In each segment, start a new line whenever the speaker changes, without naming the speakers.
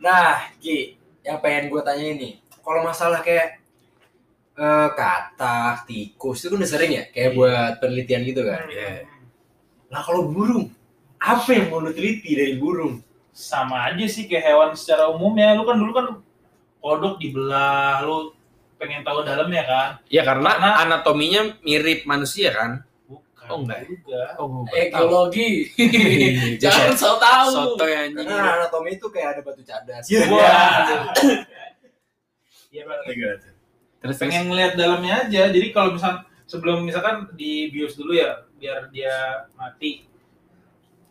Nah, Ki, yang pengen gue tanya ini, kalau masalah kayak eh katak, tikus itu kan udah sering ya, kayak
Iya.
buat penelitian gitu kan.
Iya.
Nah, kalau burung, apa yang mau lu teliti dari burung?
sama aja sih kayak hewan secara umumnya lu kan dulu kan kodok dibelah lu pengen tahu dalamnya kan
Ya karena,
Karena-
anatominya mirip manusia kan.
bukan
Oh, enggak ya?
juga
Oh,
Ekologi.
Iya, Jangan
Jangan so tahu.
soto ya anjing.
Karena anatomi itu kayak ada batu cadas.
Iya.
Wah.
Iya, Bang.
Terus terus.
pengen ngeliat dalamnya aja jadi kalau misal sebelum misalkan dibius dulu ya biar dia mati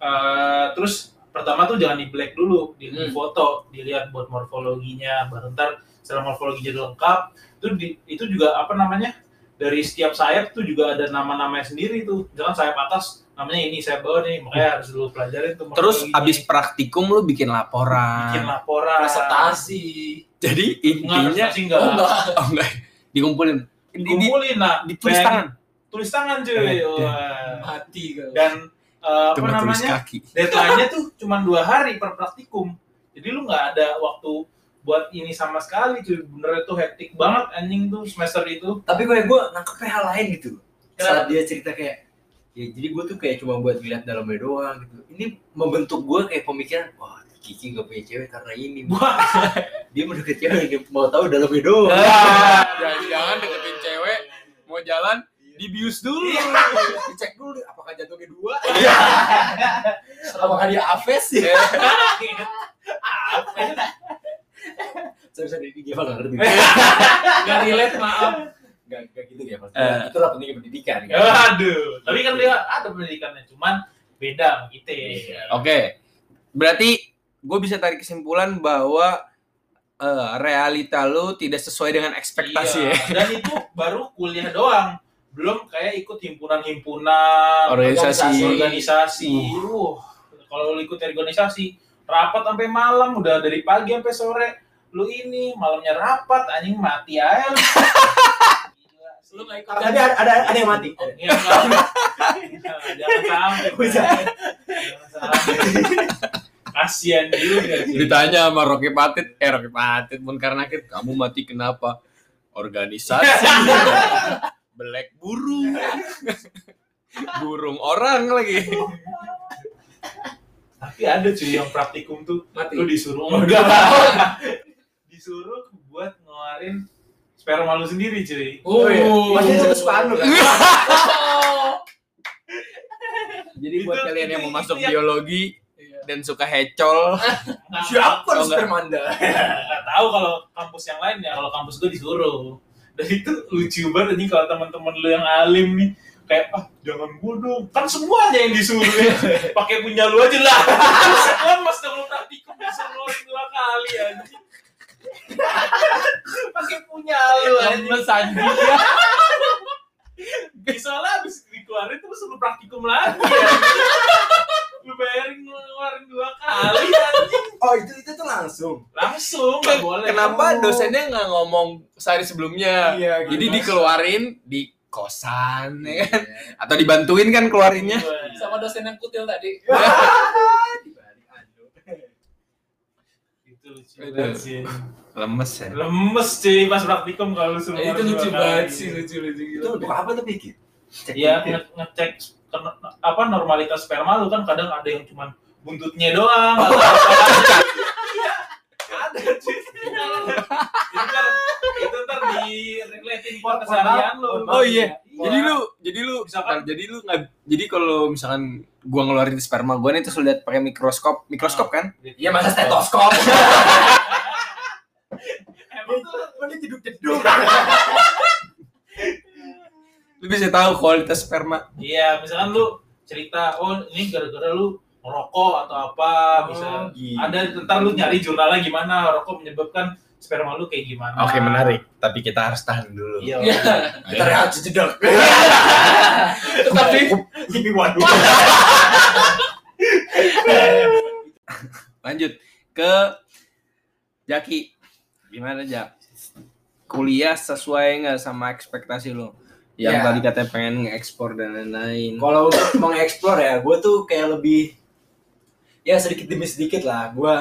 Eh, terus pertama tuh jangan di black dulu di
Hmm.
foto dilihat buat morfologinya baru ntar setelah morfologinya udah lengkap itu di- itu juga apa namanya dari setiap sayap tuh juga ada nama-namanya sendiri tuh jangan sayap atas namanya ini sayap bawah nih makanya harus dulu pelajarin tuh
Hmm. Terus
morfologinya.
abis praktikum lu bikin laporan.
bikin laporan
Presentasi.
Jadi
Enggak,
intinya
presentasi
Oh,
enggak
enggak.
oh enggak dikumpulin. Di, di,
dikumpulin nah
ditulis
Peng-
tangan
tulis tangan cuy
Keren.
Wah.
Mati kalau.
dan eh, apa
Cuma tulis
namanya
kaki.
deadline-nya tuh cuma dua hari per praktikum jadi lu nggak ada waktu buat ini sama sekali cuy bener itu hektik banget anjing tuh semester itu
Tapi kayak gue nangkepnya hal lain gitu. Saat
Kenapa?
dia cerita kayak, ya jadi gue tuh kayak cuma buat lihat dalamnya doang gitu. Ini membentuk gue kayak pemikiran, wah Kiki gak punya cewek karena ini.
Wah.
dia mendekat cewek ini mau tahu dalamnya doang.
Jangan-jangan deketin cewek mau jalan dibius dulu.
Iya. Dicek dulu nih, apakah jantungnya dua?
Apakah dia Aves ya?
Saya bisa didik Geva nggak ngerti.
Gak relate maaf.
Gak gak gitu ya pasti.
Eh.
Itulah pentingnya pendidikan. kan?
Eh. aduh tapi kan dia ada pendidikannya cuman beda sama kita
Oke. Berarti gue bisa tarik kesimpulan bahwa eh, realita lu tidak sesuai dengan ekspektasi
Iya,
ya.
dan itu baru kuliah doang belum kayak ikut himpunan-himpunan
Organisasi. Uh.
organisasi Wuh, kalau lu ikut organisasi rapat sampai malam udah dari pagi sampai sore lu ini malamnya rapat anjing mati aja lu. Gila sih.
Lu gak ikut
Tadi ada, ada ada yang mati.
Oh, iya, enggak. Iya, jangan sampai Bray.
Bisa.
Jangan sampai. kasian juga sih.
Ditanya sama Rocky Patit, eh Rocky Patit, Munkar Nakir, kamu mati kenapa? Organisasi, black burung, burung orang lagi.
tapi ada cuy yang praktikum tuh
Mati.
lu disuruh
Oh,
enggak disuruh buat ngeluarin sperma lu sendiri cuy
Oh, iya.
Maksudnya itu kesukaan lu kan?
Oh.
Jadi
Itu-
buat kalian yang
itu-
mau masuk
itu yang-
biologi dan suka hecol,
Siapa lu
Oh, enggak.
Supermanda?
nggak tahu kalau kampus yang lain ya kalau kampus gue disuruh dan itu lucu banget anjing kalau teman-teman lu yang alim nih kayak ah jangan bodoh kan semua aja yang disuruh ya. pakai punya lu aja lah semua mas dong lu praktikum disuruh dua kali anjing pakai punya lu anjing
lemes anjing.
bisa lah habis dikeluarin terus lu praktikum lagi lu bayarin ngeluarin dua kali anjing
Oh itu itu tuh langsung.
langsung nggak boleh
Kenapa dosennya nggak ngomong sehari sebelumnya?
Iya.
Jadi dikeluarin di kosan ya kan? Atau dibantuin kan keluarinnya?
Sama dosen yang kutil tadi.
itu lucu banget sih
Lemes ya.
lemes sih pas praktikum kalau lu suruh
Eh, Itu
ngeluarin
lucu gitu.
dua
banget
kali.
sih, lucu-lucu
Itu untuk
gila.
apa tuh Piki? Cek
ya
dulu.
nge- ngecek ken- apa normalitas sperma lu kan kadang ada yang cuman buntutnya doang atau apa Iya, ada cuy. Itu ntar- itu ntar di relatein buat keseharian lu
Oh, iya. Jadi
Iya.
lu, jadi lu,
Misalkan-
bentar, jadi lu nggak, jadi kalau misalkan gua ngeluarin sperma gua nih terus lu lihat pakai mikroskop, mikroskop kan?
Iya masa stetoskop.
Emang tuh
Mana jeduk-jeduk?
Lu bisa tahu kualitas sperma.
Iya, misalkan lu cerita, oh ini gara-gara lu merokok atau apa,
Oh,
bisa
gitu.
ada ntar lu nyari jurnalnya gimana, rokok menyebabkan sperma lu kayak gimana.
Tapi kita harus tahan dulu.
Iya.
Iya.
Ntar ya jeduk.
Tapi
Ini waduh.
Lanjut ke Jaki. Gimana Jak? Kuliah sesuai nggak sama ekspektasi lu? Yang
Ya.
tadi katanya pengen ngeekspor dan lain-lain.
Hmm. Kalau untuk mengeksplor ya, gue tuh kayak lebih ya sedikit demi sedikit lah. Gue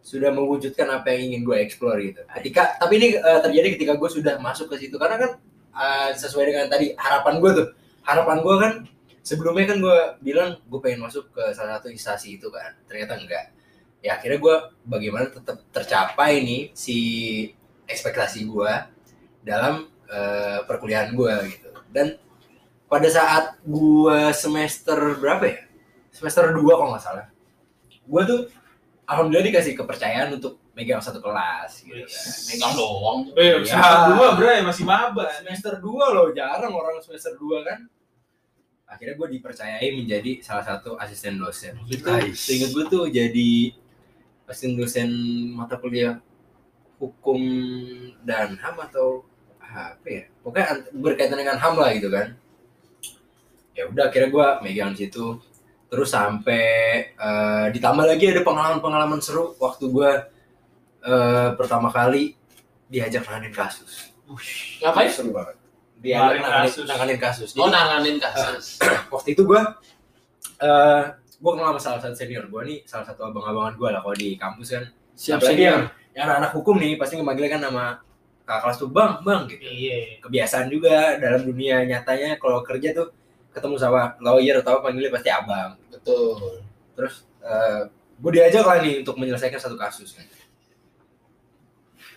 sudah mewujudkan apa yang ingin gue explore gitu. Ketika tapi ini eh, terjadi ketika gue sudah masuk ke situ karena kan eh, sesuai dengan tadi harapan gue tuh. Harapan gue kan sebelumnya kan gue bilang gue pengen masuk ke salah satu instansi itu kan. Ternyata enggak. Ya akhirnya gue bagaimana tetap tercapai nih si ekspektasi gue dalam eh, perkuliahan gue gitu. Dan pada saat gue semester berapa ya? Semester 2 kalau nggak salah. Gue tuh alhamdulillah dikasih kepercayaan untuk megang satu kelas gitu kan.
megang doang tuh.
Eh,
Ya.
semester dua bray masih maba.
Semester Iya. 2 loh, jarang orang semester 2 kan. Akhirnya gue dipercayai menjadi salah satu asisten dosen. Itu
Nice.
seingat gue tuh jadi asisten dosen mata kuliah hukum dan HAM atau apa ya? Pokoknya ant- berkaitan dengan HAM lah gitu kan. Ya udah akhirnya gue megang di situ terus sampai eh, ditambah lagi ada pengalaman-pengalaman seru waktu gue eh, pertama kali diajak nanganin kasus
Ngapain?
seru banget dia
Nanganin
nanganin
kasus.
kasus, nanganin kasus.
Oh
Jadi,
nanganin kasus.
waktu itu gue eh gue kenal sama salah satu senior gue nih salah satu abang-abangan gue lah kalau di kampus kan
Siap
Apalagi
senior.
yang anak-anak hukum nih pasti ngemanggilnya kan nama kakak kelas tuh bang bang gitu
Iya.
kebiasaan juga dalam dunia nyatanya kalau kerja tuh ketemu sama lawyer atau apa, panggilnya pasti abang
Betul.
terus gue diajak lah nih untuk menyelesaikan satu kasus kan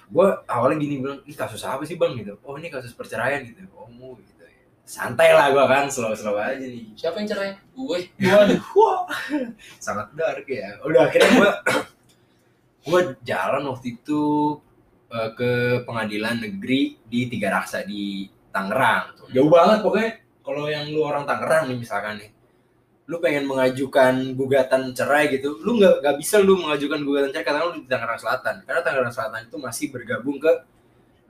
gue awalnya gini bilang ini kasus apa sih bang gitu oh ini kasus perceraian gitu oh mu gitu ya. santai lah gue kan slow slow aja nih
Siapa yang cerai? Gue.
Waduh.
sangat dark ya udah akhirnya gue gue jalan waktu itu eh, ke pengadilan negeri di Tiga Raksa di Tangerang jauh banget pokoknya kalau yang lu orang Tangerang nih misalkan nih lu pengen mengajukan gugatan cerai gitu lu nggak nggak bisa lu mengajukan gugatan cerai karena lu di Tangerang Selatan karena Tangerang Selatan itu masih bergabung ke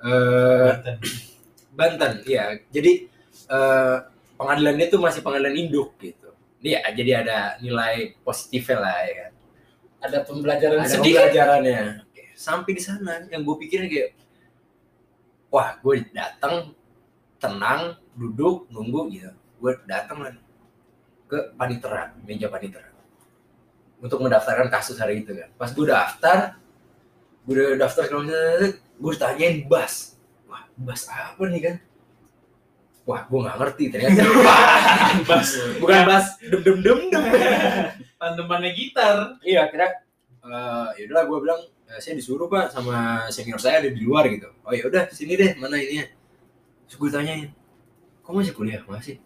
eh, Banten ya jadi eh, pengadilannya tuh masih pengadilan induk gitu Iya, jadi ada nilai positifnya lah ya kan.
Ada pembelajaran
Ada
sedikit.
pembelajarannya. Sampai di sana yang gue pikirin kayak wah, gue datang tenang, duduk, nunggu gitu. Gue datang lah ke panitera, meja panitera. Untuk mendaftarkan kasus hari itu kan. Pas gue daftar, gue udah daftar kalau gue ditanyain bas. Wah, bas apa nih kan? Wah, gue gak ngerti ternyata.
Bas.
Bukan bas dem dem dem dem.
Tandemannya gitar.
Iya, akhirnya eh yaudahlah gue bilang "Eh, saya disuruh pak sama senior saya ada di luar gitu. Oh ya udah sini deh mana ininya. Terus gue tanyain, kamu masih kuliah masih?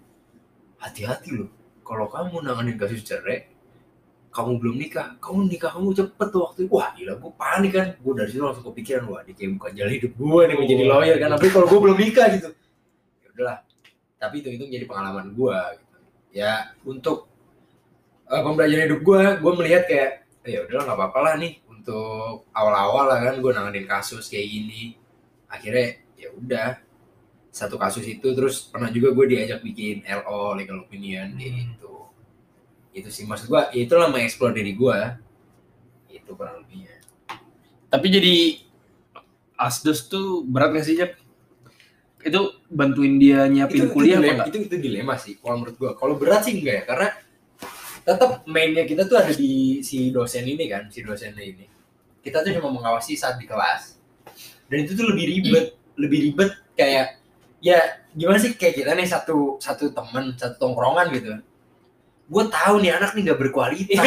Hati-hati loh, kalau kamu nanganin kasus cerai, kamu belum nikah, kamu nikah kamu cepet tuh waktu itu. Wah gila, gue panik kan. Gue dari situ langsung kepikiran, wah ini kayak bukan jalan hidup gue nih menjadi lawyer kan. Tapi kalau gue belum nikah gitu, ya udahlah. Tapi itu itu menjadi pengalaman gue. Gitu. Ya untuk eh, pembelajaran hidup gue, gue melihat kayak ya udahlah nggak apa-apa lah nih untuk awal-awal lah kan gue nanganin kasus kayak gini akhirnya ya udah satu kasus itu terus pernah juga gue diajak bikin LO legal opinion gitu itu sih maksud gue ya itulah mengeksplor diri gue itu kurang lebihnya
Tapi jadi asdos tuh berat gak sih Jep? Itu bantuin dia nyiapin kuliah apa
dilema,
enggak?
itu itu dilema sih kalau menurut gue kalau berat sih enggak ya karena tetap mainnya kita tuh ada di si dosen ini kan si dosennya ini kita tuh cuma mengawasi saat di kelas dan itu tuh lebih ribet lebih ribet kayak ya gimana sih kayak kita nih satu satu teman satu tongkrongan gitu gue tahu nih anak nih gak berkualitas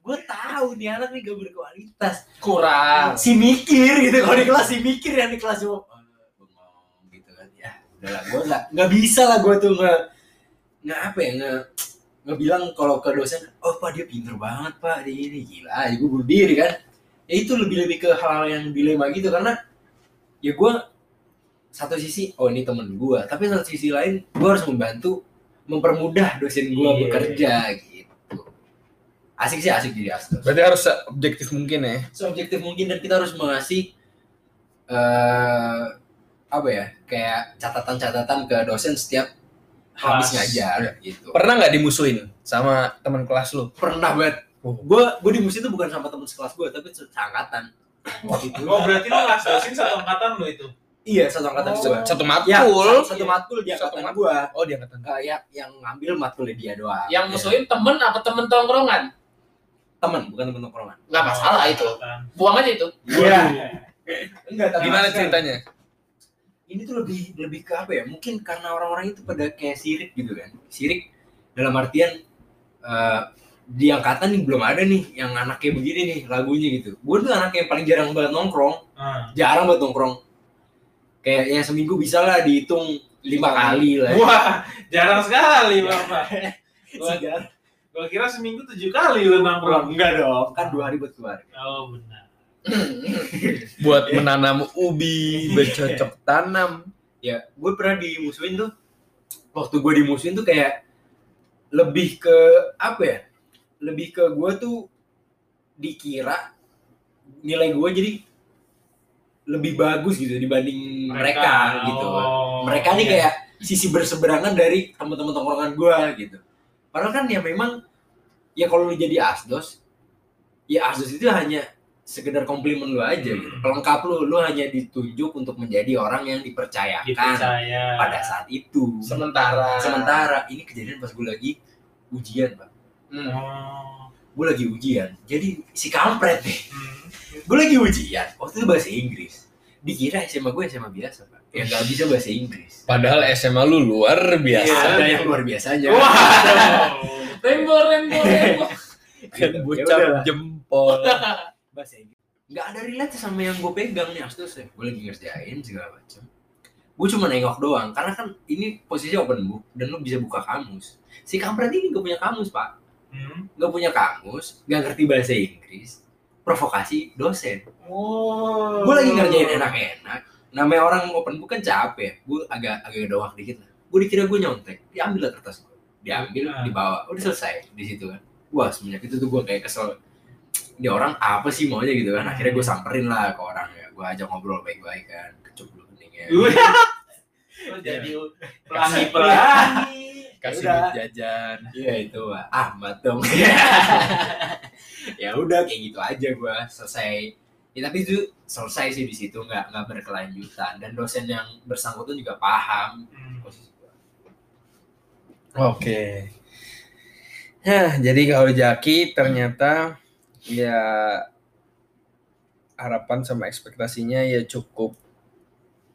gue tahu nih anak nih gak berkualitas
Kurang.
si mikir gitu kalau di kelas si mikir yang di kelas cuma "Eh, bengong," gitu kan ya udah lah gue nggak nggak bisa lah gue tuh nggak nggak apa ya nggak nggak bilang kalau ke dosen oh pak dia pinter banget pak dia ini gila ya gue bunuh diri kan ya itu lebih lebih ke hal yang dilema gitu karena ya gue satu sisi oh ini temen gue tapi satu sisi lain gue harus membantu mempermudah dosen gue
Iya.
bekerja gitu asik sih asik jadi asik
Berarti harus objektif mungkin ya.
seobjektif mungkin dan kita harus mengasih eh apa ya kayak catatan-catatan ke dosen setiap habis
Kelas.
ngajar gitu
Pernah nggak dimusuhin sama teman kelas lu?
pernah banget
Oh.
gue gue di musik itu bukan sama teman sekelas gue tapi se- seangkatan waktu itu
Oh berarti lu ngasasin satu angkatan lo itu.
iya satu angkatan
Oh.
juga
Satu
ya
matkul.
satu, satu matkul di angkatan
Satu
ya,
matkul.
gue
Oh, dia angkatan.
kayak yang ngambil matkulnya dia doang
Yang musuhin temen apa temen tongkrongan?
teman bukan teman tongkrongan
nggak masalah itu buang aja itu
Iya. enggak tapi
Gimana
maksudnya,
ceritanya?
ini tuh lebih lebih ke apa ya mungkin karena orang-orang itu pada kayak sirik gitu kan sirik dalam artian eh, di angkatan nih belum ada nih yang anaknya begini nih lagunya gitu gue tuh anak yang paling jarang banget nongkrong jarang banget nongkrong kayak ya seminggu bisa lah dihitung lima kali lah ya.
Wah, jarang sekali bapak.
Tiga.
Gua kira seminggu tujuh kali lu nongkrong.
enggak dong kan dua hari buat keluar
Oh benar.
Iya.
Buat menanam ubi, bercocok tanam.
ya gue pernah dimusuhin tuh waktu gue dimusuhin tuh kayak lebih ke apa ya lebih ke gue tuh dikira nilai gue jadi lebih bagus gitu dibanding mereka, gitu
oh,
mereka nih
iya.
kayak sisi berseberangan dari teman-teman tongkrongan gue gitu padahal kan ya memang ya kalau lu jadi asdos ya asdos itu hanya sekedar komplimen lu aja gitu.
Hmm.
pelengkap lu lu hanya ditunjuk untuk menjadi orang yang dipercayakan
gitu saya.
kan, pada saat itu
sementara
sementara ini kejadian pas gue lagi ujian pak
Hmm.
Oh.
gue lagi ujian jadi si kampret nih
Hmm.
gue lagi ujian waktu itu bahasa Inggris dikira SMA gue SMA biasa pak yang gak bisa bahasa Inggris
Padahal SMA lu luar
Iya,
biasa.
ada yang luar biasanya.
Wah.
rembo rembo rembo
Gitu.
Kan
Ya
bocah
udahlah.
jempol.
bahasa Inggris. Nggak ada relate sama yang gue pegang nih astus ya. Gue lagi ngerjain segala macam. Gue cuma nengok doang karena kan ini posisi open book dan lu bisa buka kamus. Si kampret ini gak punya kamus pak,
Hmm.
gak punya kamus, gak ngerti bahasa Inggris, provokasi dosen.
Oh.
Gue lagi ngerjain enak-enak. Namanya orang open book kan capek, gue agak agak doang dikit lah. Gue dikira gue nyontek, diambil lah kertas gue, diambil,
Ah.
dibawa, udah selesai di situ kan. Wah semenjak itu tuh gue kayak kesel ini orang apa sih maunya gitu kan akhirnya gue samperin lah ke orang ya gue ajak ngobrol baik-baik kan kecup dulu keningnya
Lu Oh, jadi
Iya.
pelangi-pelangi.
Kasih
Ya Udah.
duit jajan.
iya itu Wak. Ahmad dong ya udah kayak gitu aja gue selesai ya tapi itu selesai sih di situ nggak nggak berkelanjutan dan dosen yang bersangkutan juga paham
Hmm.
posisi gue
Oke. Nah, jadi kalau Jaki ternyata ya harapan sama ekspektasinya ya cukup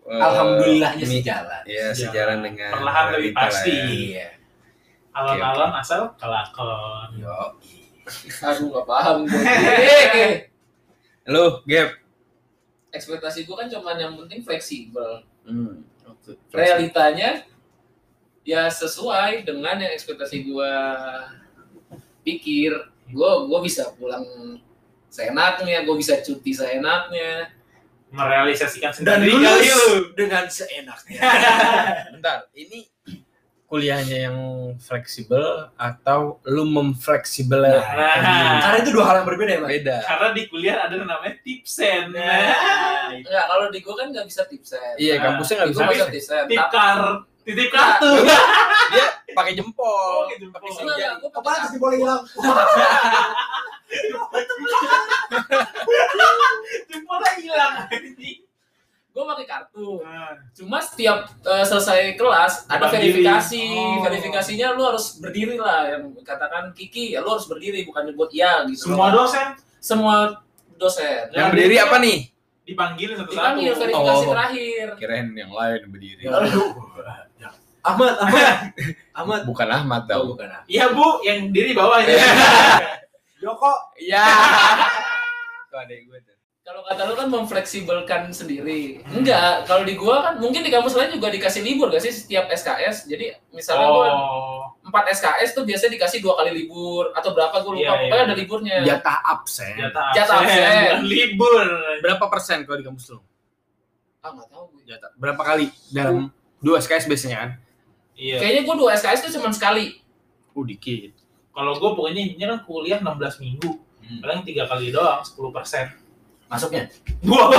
eh,
alhamdulillahnya
mi-
sih jalan
Ya,
Sejalan.
sejalan dengan
Perlahan tapi
realita lah
pasti.
ya.
iya
Alon-alon asal kelakon.
yo
aku nggak paham gue Eh,
Lu, Gap.
ekspektasi gue kan cuman yang penting fleksibel
Hmm.
realitanya ya sesuai dengan yang ekspektasi gue pikir gue gue bisa pulang seenaknya gue bisa cuti seenaknya
Merealisasikan
dan
sendiri kali lu.
lulus Iya. dengan seenaknya
Bentar, ini kuliahnya yang fleksibel atau lu memfleksibel
Nah.
karena itu dua hal yang berbeda ya Eh. Pak?
beda?
Karena di kuliah ada namanya tipsen.
Iya.
Nah. nggak kalau di gue kan nggak bisa tipsen
Iya,
Nah,
kampusnya nggak
Di
bisa
gua bisa tipsen
Tip
tapi
kar, titip kartu.
dia pakai jempol.
Oh, gitu.
Pakai
Oh.
Enggak,
senjata.
enggak, gua pakai
Apaan sih boleh hilang
Jempolnya hilang.
Iya.
anjing.
gue pakai kartu cuma setiap eh, selesai kelas ada
Berdiri.
verifikasi
Oh.
verifikasinya lu harus berdiri lah yang katakan Kiki ya lu harus berdiri bukan buat iya gitu
Semua
dosen
dosen
semua dosen
Yang berdiri apa nih?
dipanggil satu-satu.
dipanggil verifikasi
Oh.
terakhir
Kirain yang lain berdiri.
Ahmad, Ahmad, Ahmad.
Bukan Ahmad
Tahu
dong.
bukan Ahmad.
Iya bu, yang diri bawahnya.
Joko.
Iya. Itu adek gue tuh.
kalau kata lu kan memfleksibelkan sendiri enggak kalau di gua kan mungkin di kampus lain juga dikasih libur gak sih setiap SKS jadi misalnya gua
oh,
empat SKS tuh biasanya dikasih dua kali libur atau berapa gua lupa
Iya, iya.
pokoknya ada liburnya
Jatah absen.
jatah
Jatah
absen,
absen.
bukan libur.
Berapa persen kalau di kampus lu?
ah nggak tahu gue
Jatah. Berapa kali dalam dua SKS biasanya kan?
Iya.
kayaknya gua dua SKS tuh cuma sekali
Uh dikit.
Kalau gue pokoknya intinya kan kuliah 16 minggu, paling tiga kali doang, 10 persen.
Hmm. Masuknya.
Wah,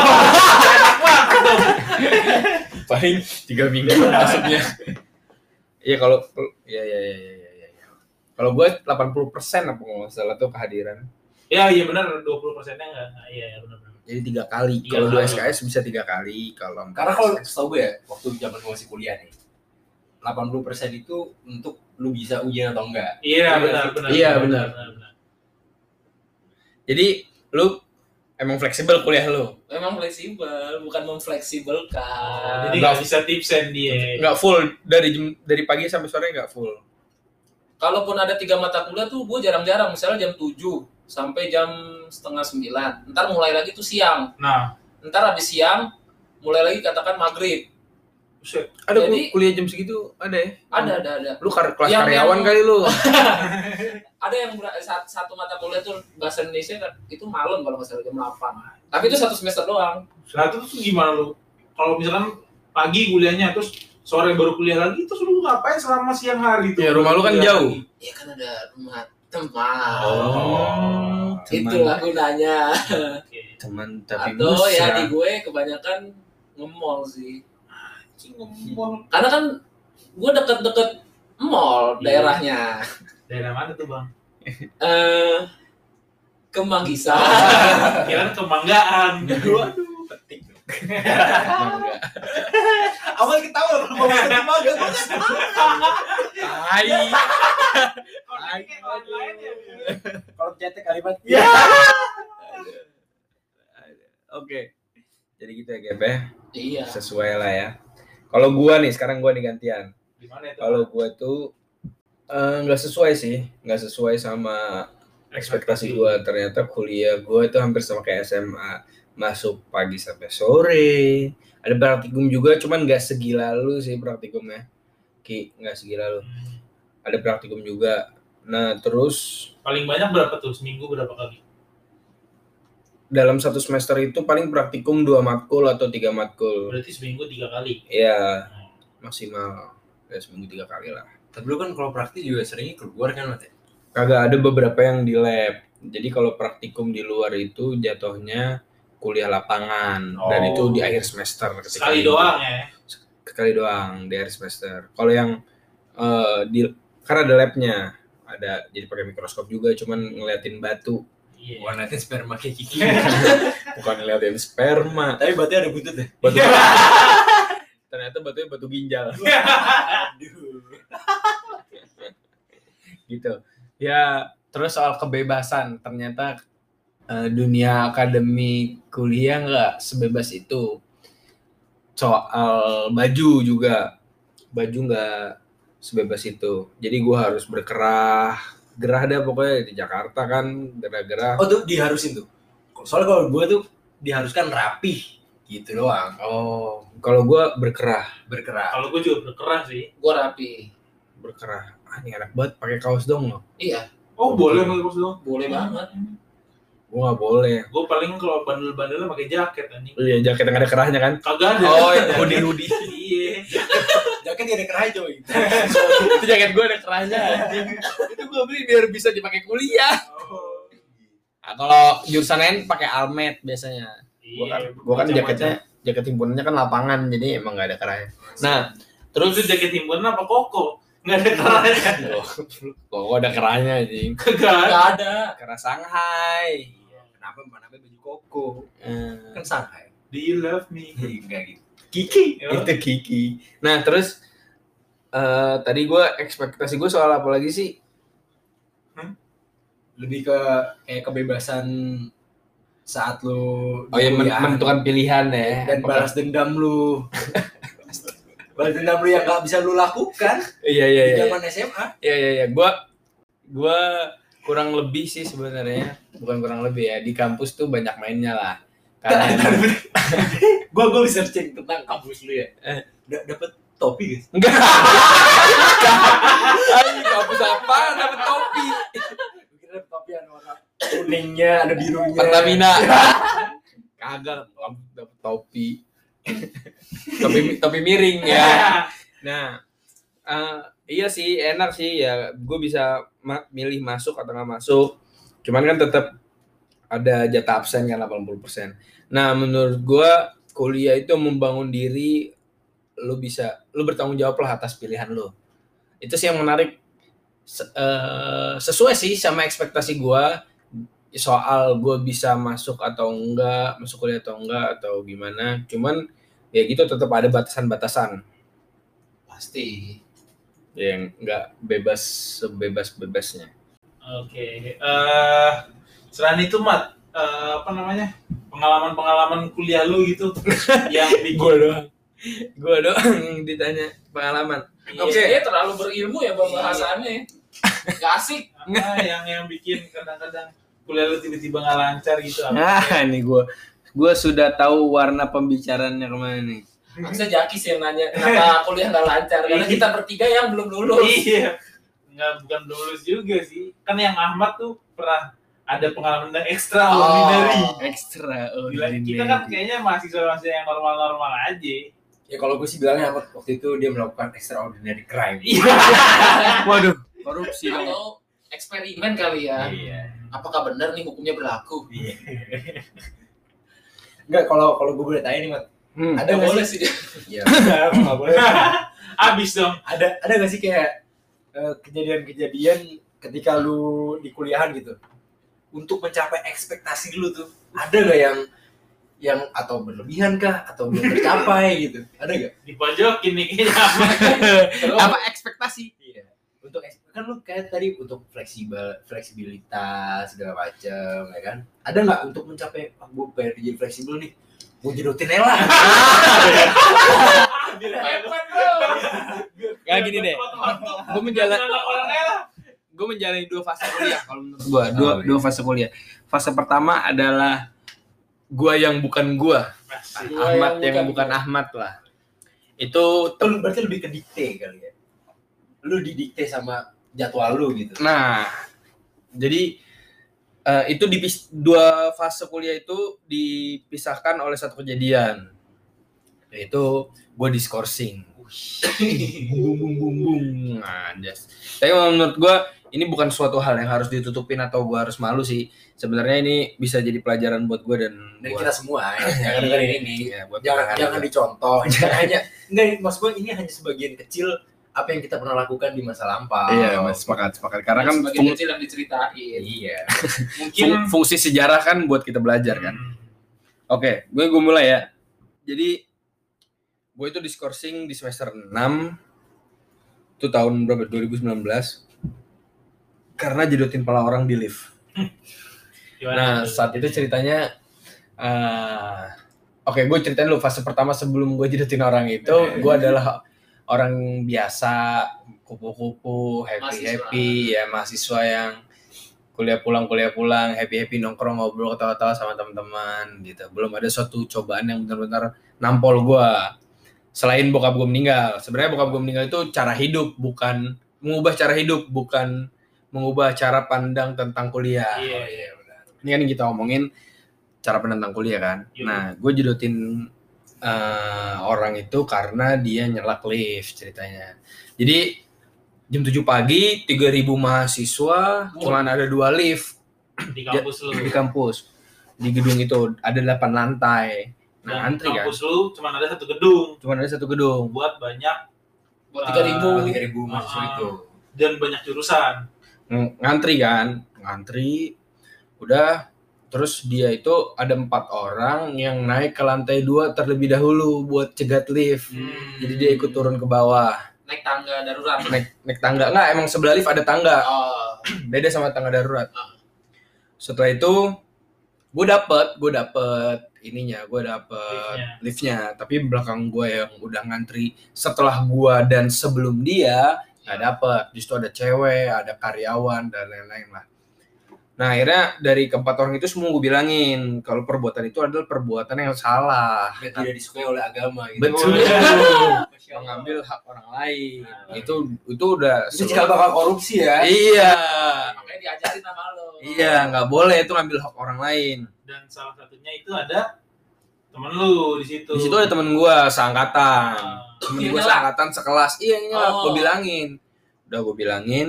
Paling tiga minggu maksudnya. Iya kalau iya iya iya iya iya. iya. Kalau gue 80 persen apa nggak salah tuh kehadiran.
ya iya benar 20 persennya enggak. Nah, iya iya benar benar.
Jadi tiga kali.
Tiga
Iya. Kalau dua
kali.
SKS bisa tiga kali. Kalau empat
Karena kalau
SKS.
setahu gue ya, waktu zaman gue masih kuliah nih, 80% itu untuk lu bisa ujian atau enggak.
Iya
Iya,
benar benar.
iya,
benar,
benar.
benar, benar.
Jadi lu emang fleksibel kuliah lu.
Memang fleksibel, bukan memfleksibelkan.
Oh, Jadi nggak bisa tipsen dia.
Ah. Nggak full dari jam- dari pagi sampai sore nggak full.
kalaupun ada tiga mata kuliah tuh gue jarang-jarang misalnya jam 7 sampai jam setengah 9 ntar mulai lagi tuh siang
Nah,
ntar habis siang mulai lagi katakan maghrib
buset.
Ada kul-
Jadi-
kuliah jam segitu ada ya?
Hmm.
ada ada ada
Lu kar- kelas
Yang-
karyawan
yang-
kali lu.
ada yang ber- sa- satu mata kuliah tuh bahasa Indonesia kan itu malam kalau nggak salah jam 8 tapi itu satu semester doang
Nah, itu tuh gimana lu? Kalau misalkan pagi kuliahnya terus sore baru kuliah lagi terus lu ngapain selama siang hari tuh? Iya.
Ya, rumah lu kan
Kuliah
jauh.
lagi.
ya kan ada rumah teman
Oh.
itulah gunanya
Oke.
teman tapi
atau ya di
musang.
gue kebanyakan nge-mall sih
Cing, ngomong.
karena kan gue deket-deket mall
Iya.
daerahnya
Daerah mana tuh, Bang?
eh kemanggisan
Kirain kebanggaan. Waduh.
Mangga.
awal ketawa loh kalau ngomong tadi mah gak banget.
Tai.
Koneknya lain-lain ya, dia.
kalau cetek kalimat
Ya.
Oke. Jadi gitu ya, Gep ya.
iya
Sesuai lah ya. Kalau gua nih sekarang gua nih gantian.
Gimana itu?
Kalau gua tuh eh, nggak sesuai sih, nggak sesuai sama ekspektasi gua. Ternyata kuliah gua itu hampir sama kayak SMA, masuk pagi sampai sore. Ada praktikum juga, cuman nggak segila lu sih praktikumnya. Ki, nggak segila lu.
Hmm,
Ada praktikum juga. Nah, terus
Paling banyak berapa tuh? Seminggu berapa kali?
dalam satu semester itu paling praktikum dua matkul atau tiga matkul.
Berarti seminggu tiga kali.
Ya, maksimal. Ya, seminggu tiga kali lah.
tapi lu kan kalau praktis juga seringnya keluar kan mati
Kagak ada beberapa yang di lab. Jadi kalau praktikum di luar itu jatuhnya kuliah lapangan dan
Oh.
itu di akhir semester. ketika
Sekali
libur.
doang ya.
Sekali doang di akhir semester. Kalau yang eh, di karena ada labnya, ada jadi pakai mikroskop juga, cuman ngeliatin batu,
Iya.
bukan nanti sperma kayak kiki
bukan ngeliatin sperma.
tapi batu ada buntut ya? deh
Batu, ternyata batunya batu ginjal.
aduh
gitu ya terus soal kebebasan ternyata eh, dunia akademik kuliah nggak sebebas itu soal baju juga baju nggak sebebas itu jadi gua harus berkerah gerah dah pokoknya di Jakarta kan gerah-gerah
oh tuh diharusin tuh soalnya kalau gua tuh diharuskan rapih gitu doang
oh kalau gua berkerah
berkerah
Kalau gue juga berkerah sih.
gue rapi
berkerah ah ini enak banget pakai kaos dong loh
iya
Oh boleh pakai kaos doang.
boleh banget
gua nggak boleh
Gue paling kalau bandel-bandelnya pakai jaket anjing.
iya jaket yang ada kerahnya kan
Kagak ada.
oh hoodie hoodie
Iya.
jangan kan dia ada kerah coy
itu jaket gue ada kerahnya anjing. itu gue beli biar bisa dipakai kuliah
Oh.
nah, kalau jurusan lain pakai almet biasanya
Iya,
gue kan, gua kan jaketnya jaket himpunannya kan lapangan jadi emang gak ada kerahnya nah
Terus itu jaket himpunan apa koko? Nggak ada kerahnya.
kok gua ada kerahnya anjing
Kagak. ada.
nggak ada
kerah Shanghai
Iya. kenapa namanya baju koko
Eh,
kan Shanghai
Do you love me?
enggak gitu
Kiki.
itu Kiki nah terus eh tadi gue ekspektasi gue soal apa lagi sih
lebih ke kayak kebebasan saat lu
oh ya men-
kuliah.
menentukan pilihan ya
dan
Apakah-
balas dendam lu balas dendam lu yang gak bisa lu lakukan
iya iya
di
iya
zaman SMA
Ya ya ya, gua gua kurang lebih sih sebenarnya, bukan kurang lebih ya. Di kampus tuh banyak mainnya lah. Karena
gua gua researching tentang kampus lu ya
Eh.
D- dapet topi guys
enggak. Ay, kampus apa dapat topi?
kira dapet topi ada warna kuningnya ada birunya
Pertamina. Kagak dapat topi. tapi tapi miring ya.
kan.
Nah, eh, iya sih enak sih ya. Gue bisa ma- milih masuk atau nggak masuk. Cuman kan tetap ada jatah absen kan 80%. Nah, menurut gue kuliah itu membangun diri lu bisa lu bertanggung jawab lah atas pilihan lu. Itu sih yang menarik Se- eh, sesuai sih sama ekspektasi gue soal gue bisa masuk atau enggak, masuk kuliah atau enggak atau gimana. Cuman ya gitu tetap ada batasan-batasan
pasti
yang nggak bebas sebebas bebasnya
Oke. Eh, selain itu Mat, eh, apa namanya? Pengalaman-pengalaman kuliah lu gitu yang bikin
Gue doang. Gue doang ditanya pengalaman. Oke.
Iya, Dia terlalu berilmu ya bang bahasannya. Gak asik.
apa yang yang bikin kadang-kadang kuliah lu tiba-tiba nggak lancar gitu. apa?
Nah, ini gue. Gue sudah tahu warna pembicaraannya kemana nih.
Bisa Jaki sih yang nanya kenapa kuliah nggak lancar.
Iya.
Karena kita bertiga yang belum lulus.
Iya. Nggak bukan belum lulus juga sih. Kan yang Ahmad tuh pernah ada pengalaman yang ekstra
Oh.
ordinary.
Ekstra.
Gila, kita kan kayaknya mahasiswa-mahasiswa yang normal-normal aja.
Ya kalau gue sih bilangnya Ahmad, waktu itu dia melakukan extraordinary crime.
Ah, Waduh, korupsi dong.
Atau eksperimen kali ya.
Iya.
Apakah benar nih hukumnya berlaku?
Iya. Enggak, kalau kalau gue boleh tanya nih, Mat.
Hmm.
Ada
Gak
nggak
boleh
sih?
sih
Iya,
dia.
nggak boleh.
Abis dong.
Ada ada nggak sih kayak eh, kejadian-kejadian ketika lu di kuliahan gitu? Untuk mencapai ekspektasi lu tuh, ada nggak yang yang atau berlebihan kah atau belum tercapai gitu? Ada nggak?
Dipojokin nih kayaknya Ahmad.
Terus,
Apa ekspektasi?
Iya. Untuk eks- kan lu kayak tadi untuk fleksibel fleksibilitas segala macam ya kan. Ada nggak untuk mencapai ah, gue pengen jadi fleksibel nih. Gue jadi rutinela.
pepet, bro.
Ya, gini deh. Gue menjalan, gue menjalani dua fase kuliah kalau menurut gue. Dua,
Oh, iya.
dua fase kuliah. Fase pertama adalah gue yang bukan gue,
Gua
Ahmad Iya, yang, bukan
bukan-
Ahmad lah. Itu
Lu berarti lebih ke dikte kali ya. Lu didikte sama jadwal lu gitu.
Nah, jadi eh, itu di dua fase kuliah itu dipisahkan oleh satu kejadian. Yaitu gue discoursing. bung bung bung bung. Nah, just. Tapi kalau menurut gue ini bukan suatu hal yang harus ditutupin atau gue harus malu sih. Sebenarnya ini bisa jadi pelajaran buat gue dan
Dan
buat-
kita semua ya, yang dengerin ini
ya, buat
jangan
kita.
jangan dicontoh, jangan hanya enggak maksud gue ini hanya sebagian kecil apa yang kita pernah lakukan di masa lampau.
Iya, mas, sepakat sepakat. Karena kan
sebagian
fung-
kecil yang diceritain.
Iya.
Mungkin Hmm,
fung- fungsi sejarah kan buat kita
Hmm.
belajar kan. Oke, gue gue mulai ya. Jadi gue itu discoursing di semester 6 itu tahun berapa? 2019. Karena jedotin pala orang di lift. Nah, saat itu ceritanya eh, Oke, gue ceritain lu fase pertama sebelum gue jedotin orang itu, gue adalah orang biasa, kupu-kupu, happy-happy, ya mahasiswa yang kuliah pulang kuliah pulang happy happy nongkrong ngobrol ketawa ketawa sama teman-teman gitu belum ada suatu cobaan yang benar-benar nampol gua selain bokap gua meninggal sebenarnya bokap gua meninggal itu cara hidup bukan mengubah cara hidup bukan mengubah cara pandang tentang kuliah
Iya,
iya,
ini kan yang kita omongin cara penentang kuliah kan.
Iya.
Nah, gue jedotin eh, orang itu karena dia nyelak lift ceritanya. Jadi jam 7 pagi 3000 mahasiswa cuman ada dua lift
di kampus lu.
di kampus. Di gedung itu ada 8 lantai.
Dan
Nah, antri kan.
kampus lu cuma ada satu gedung
Cuman ada satu gedung.
buat banyak
Buat tiga ribu. gitu.
Ah,
tiga ribu mahasiswa
Ah.
itu.
dan banyak jurusan.
Ng- Ngantri kan. Ngantri. Udah terus dia itu ada empat orang yang naik ke lantai dua terlebih dahulu buat cegat lift. Jadi dia ikut turun ke bawah,
Naik tangga darurat.
naik naik tangga. Nggak, emang sebelah lift ada tangga,
Oh,
beda sama tangga darurat. Setelah itu, gue dapet, gue dapet ininya, gue dapet
Liftnya.
liftnya. Tapi belakang gue yang udah ngantri setelah gue dan sebelum dia nggak
Iya.
dapet. Di situ ada cewek, ada karyawan dan lain-lain lah. Nah akhirnya dari keempat orang itu semua gue bilangin kalau perbuatan itu adalah perbuatan yang salah.
Dan tidak disukai oleh agama gitu.
Betul.
Masya Allah.
Mengambil hak orang lain.
Nah.
Itu itu udah
Itu cikal bakal korupsi ya.
Iya.
Ah. makanya diajarin sama lo.
Iya, nggak boleh itu ngambil hak orang lain.
Dan salah satunya itu ada temen lu di situ.
Di situ ada temen gua seangkatan.
Ah,
Temen
Yang
gua
nyelak.
seangkatan sekelas. Iya, ini
Oh.
gue bilangin. Udah gue bilangin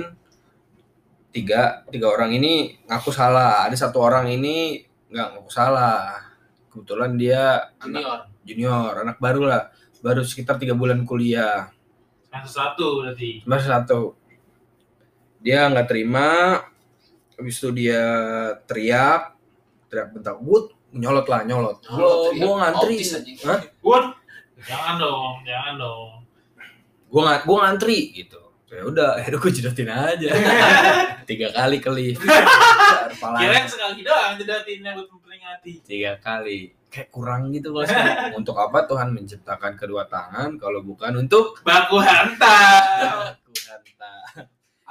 tiga tiga orang ini ngaku salah. Ada satu orang ini nggak ngaku salah. Kebetulan dia anak junior,
Junior.
anak baru lah. Baru sekitar tiga bulan kuliah.
Semester satu berarti.
semester satu dia nggak terima habis itu dia teriak teriak bentar wut nyolot lah nyolot gua gua ngantri
Oh, Autis anjing.
Hah?
What? Jangan dong, jangan dong.
gua nggak gua ngantri gitu ya udah akhirnya gue jedotin aja tiga kali kali
Kirain sekali doang jedatin rambut penting hati.
tiga kali kayak kurang gitu kalau saya. untuk apa Tuhan menciptakan kedua tangan kalau bukan untuk
Baku hantam.
Tuhan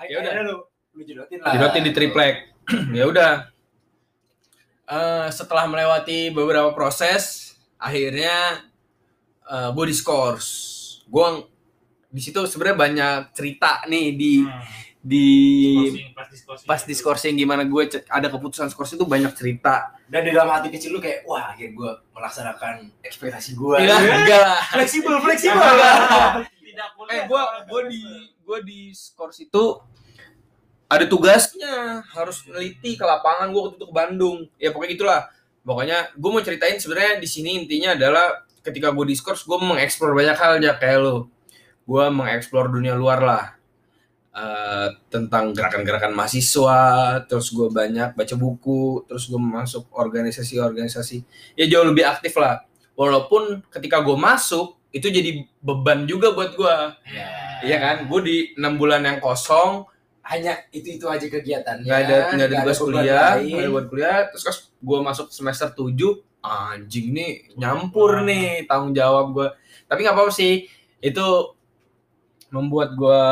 Ya udah lu lu jedotin lah.
jedotin di triplek ya udah Eh, setelah melewati beberapa proses akhirnya eh, body scores gue di situ sebenarnya banyak cerita nih di di ya?
Discoursing, Nah, pas discoursing.
pas discoursing gimana gue ce- ada keputusan skors itu banyak cerita
Dan di dalam hati kecil lu kayak wah akhirnya gue melaksanakan ekspektasi gue.
Iya, enggak lah.
Fleksibel, fleksibel.
Tidak boleh.
eh gue gue di gue di skors itu ada tugasnya harus neliti ke lapangan gue waktu itu ke Bandung ya pokoknya gitulah pokoknya gue mau ceritain sebenarnya di sini intinya adalah ketika gue di skors gue mengeksplor banyak hal ya kayak lo gue mengeksplor dunia luar lah Eh, tentang gerakan-gerakan mahasiswa terus gue banyak baca buku terus gue masuk organisasi-organisasi ya jauh lebih aktif lah walaupun ketika gue masuk itu jadi beban juga buat gue Iya kan, gue di enam bulan yang kosong,
Hanya itu itu aja kegiatannya.
nggak ada Iya, nggak ada tugas
beban
kuliah,
lain.
nggak ada buat kuliah. Terus pas gue masuk semester 7 anjing nih nyampur nih tanggung jawab gue. Tapi nggak apa-apa sih, itu membuat gue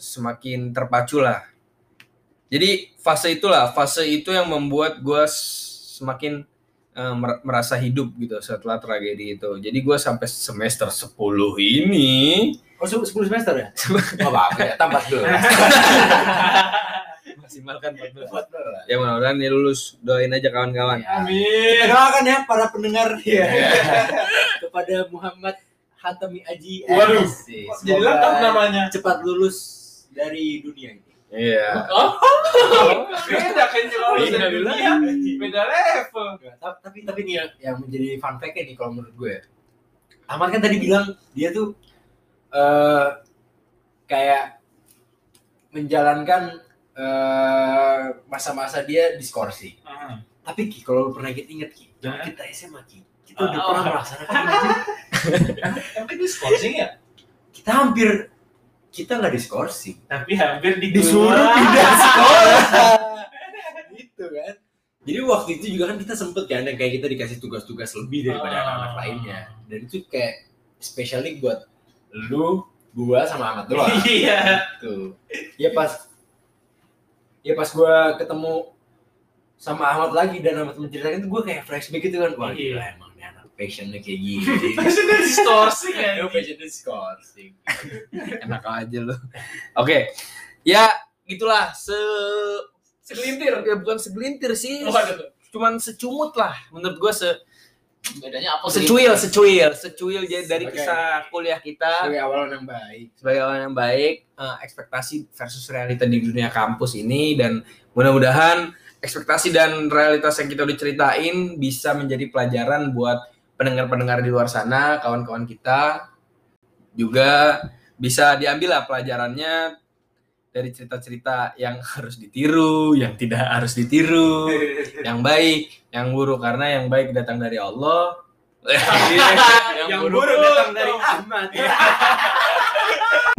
semakin terpacu lah. Jadi fase itulah, fase itu yang membuat gue semakin eh, mer- merasa hidup gitu setelah tragedi itu. Jadi gue sampai semester 10 ini
Oh, se- 10 semester ya? Enggak apa-apa ya, tambah dulu.
maksimalkan
Tambah
14.
dulu lah.
Ya mudah-mudahan dia lulus. Doain aja kawan-kawan.
Kita
Amin.
doakan ya para pendengar ya. kepada Muhammad Hatami Aji.
Waduh.
Asik.
Jadi
Semoga
lengkap namanya.
Cepat lulus dari dunia ini.
Iya.
Oh,
Beda kan jauh
Beda
dari dunia. Beda level.
Nggak, ta- Iya, Tapi tapi nih yang, yang menjadi fun fact nih kalau menurut gue. ya. Ahmad kan tadi bilang dia tuh eh kayak menjalankan eh, masa-masa dia diskorsi. Tapi Ki, kalau lu pernah inget Ki, zaman
Hah?
kita SMA Ki, kita udah
Oh.
pernah melaksanakan ini, Ki.
Emang kan discoursing ya?
kita hampir kita nggak diskorsi
Tapi hampir di
disuruh tidak sekolah gitu kan jadi waktu itu juga kan kita sempet kan yang kayak kita dikasih tugas-tugas lebih daripada
Ah.
anak-anak lainnya dan itu kayak especially buat lu gua sama Ahmad doang
Iya.
tuh ya pas ya pas gua ketemu sama Ahmad lagi dan Ahmad menceritakan itu gua kayak flashback gitu kan wah
Iya.
gila emang nih anak passionnya kayak gini
Maksudnya discoursing ya.
kan?
Emang passionnya skorsing
Enak aja lo. Oke. Ya gitulah se
segelintir.
ya bukan segelintir sih.
Waduh.
Cuman secumut lah menurut gua se
Bedanya apa sih?
Oh, secuil, secuil, secuil jadi dari
Oke.
kisah kuliah kita
sebagai awalan yang baik
sebagai orang yang baik, eh, ekspektasi versus realita di dunia kampus ini dan mudah-mudahan ekspektasi dan realitas yang kita udah ceritain bisa menjadi pelajaran buat pendengar-pendengar di luar sana, kawan-kawan kita juga bisa diambil lah pelajarannya dari cerita-cerita yang harus ditiru, yang tidak harus ditiru, yang baik, yang buruk karena yang baik datang dari Allah. yang,
buruk datang dari
Ahmad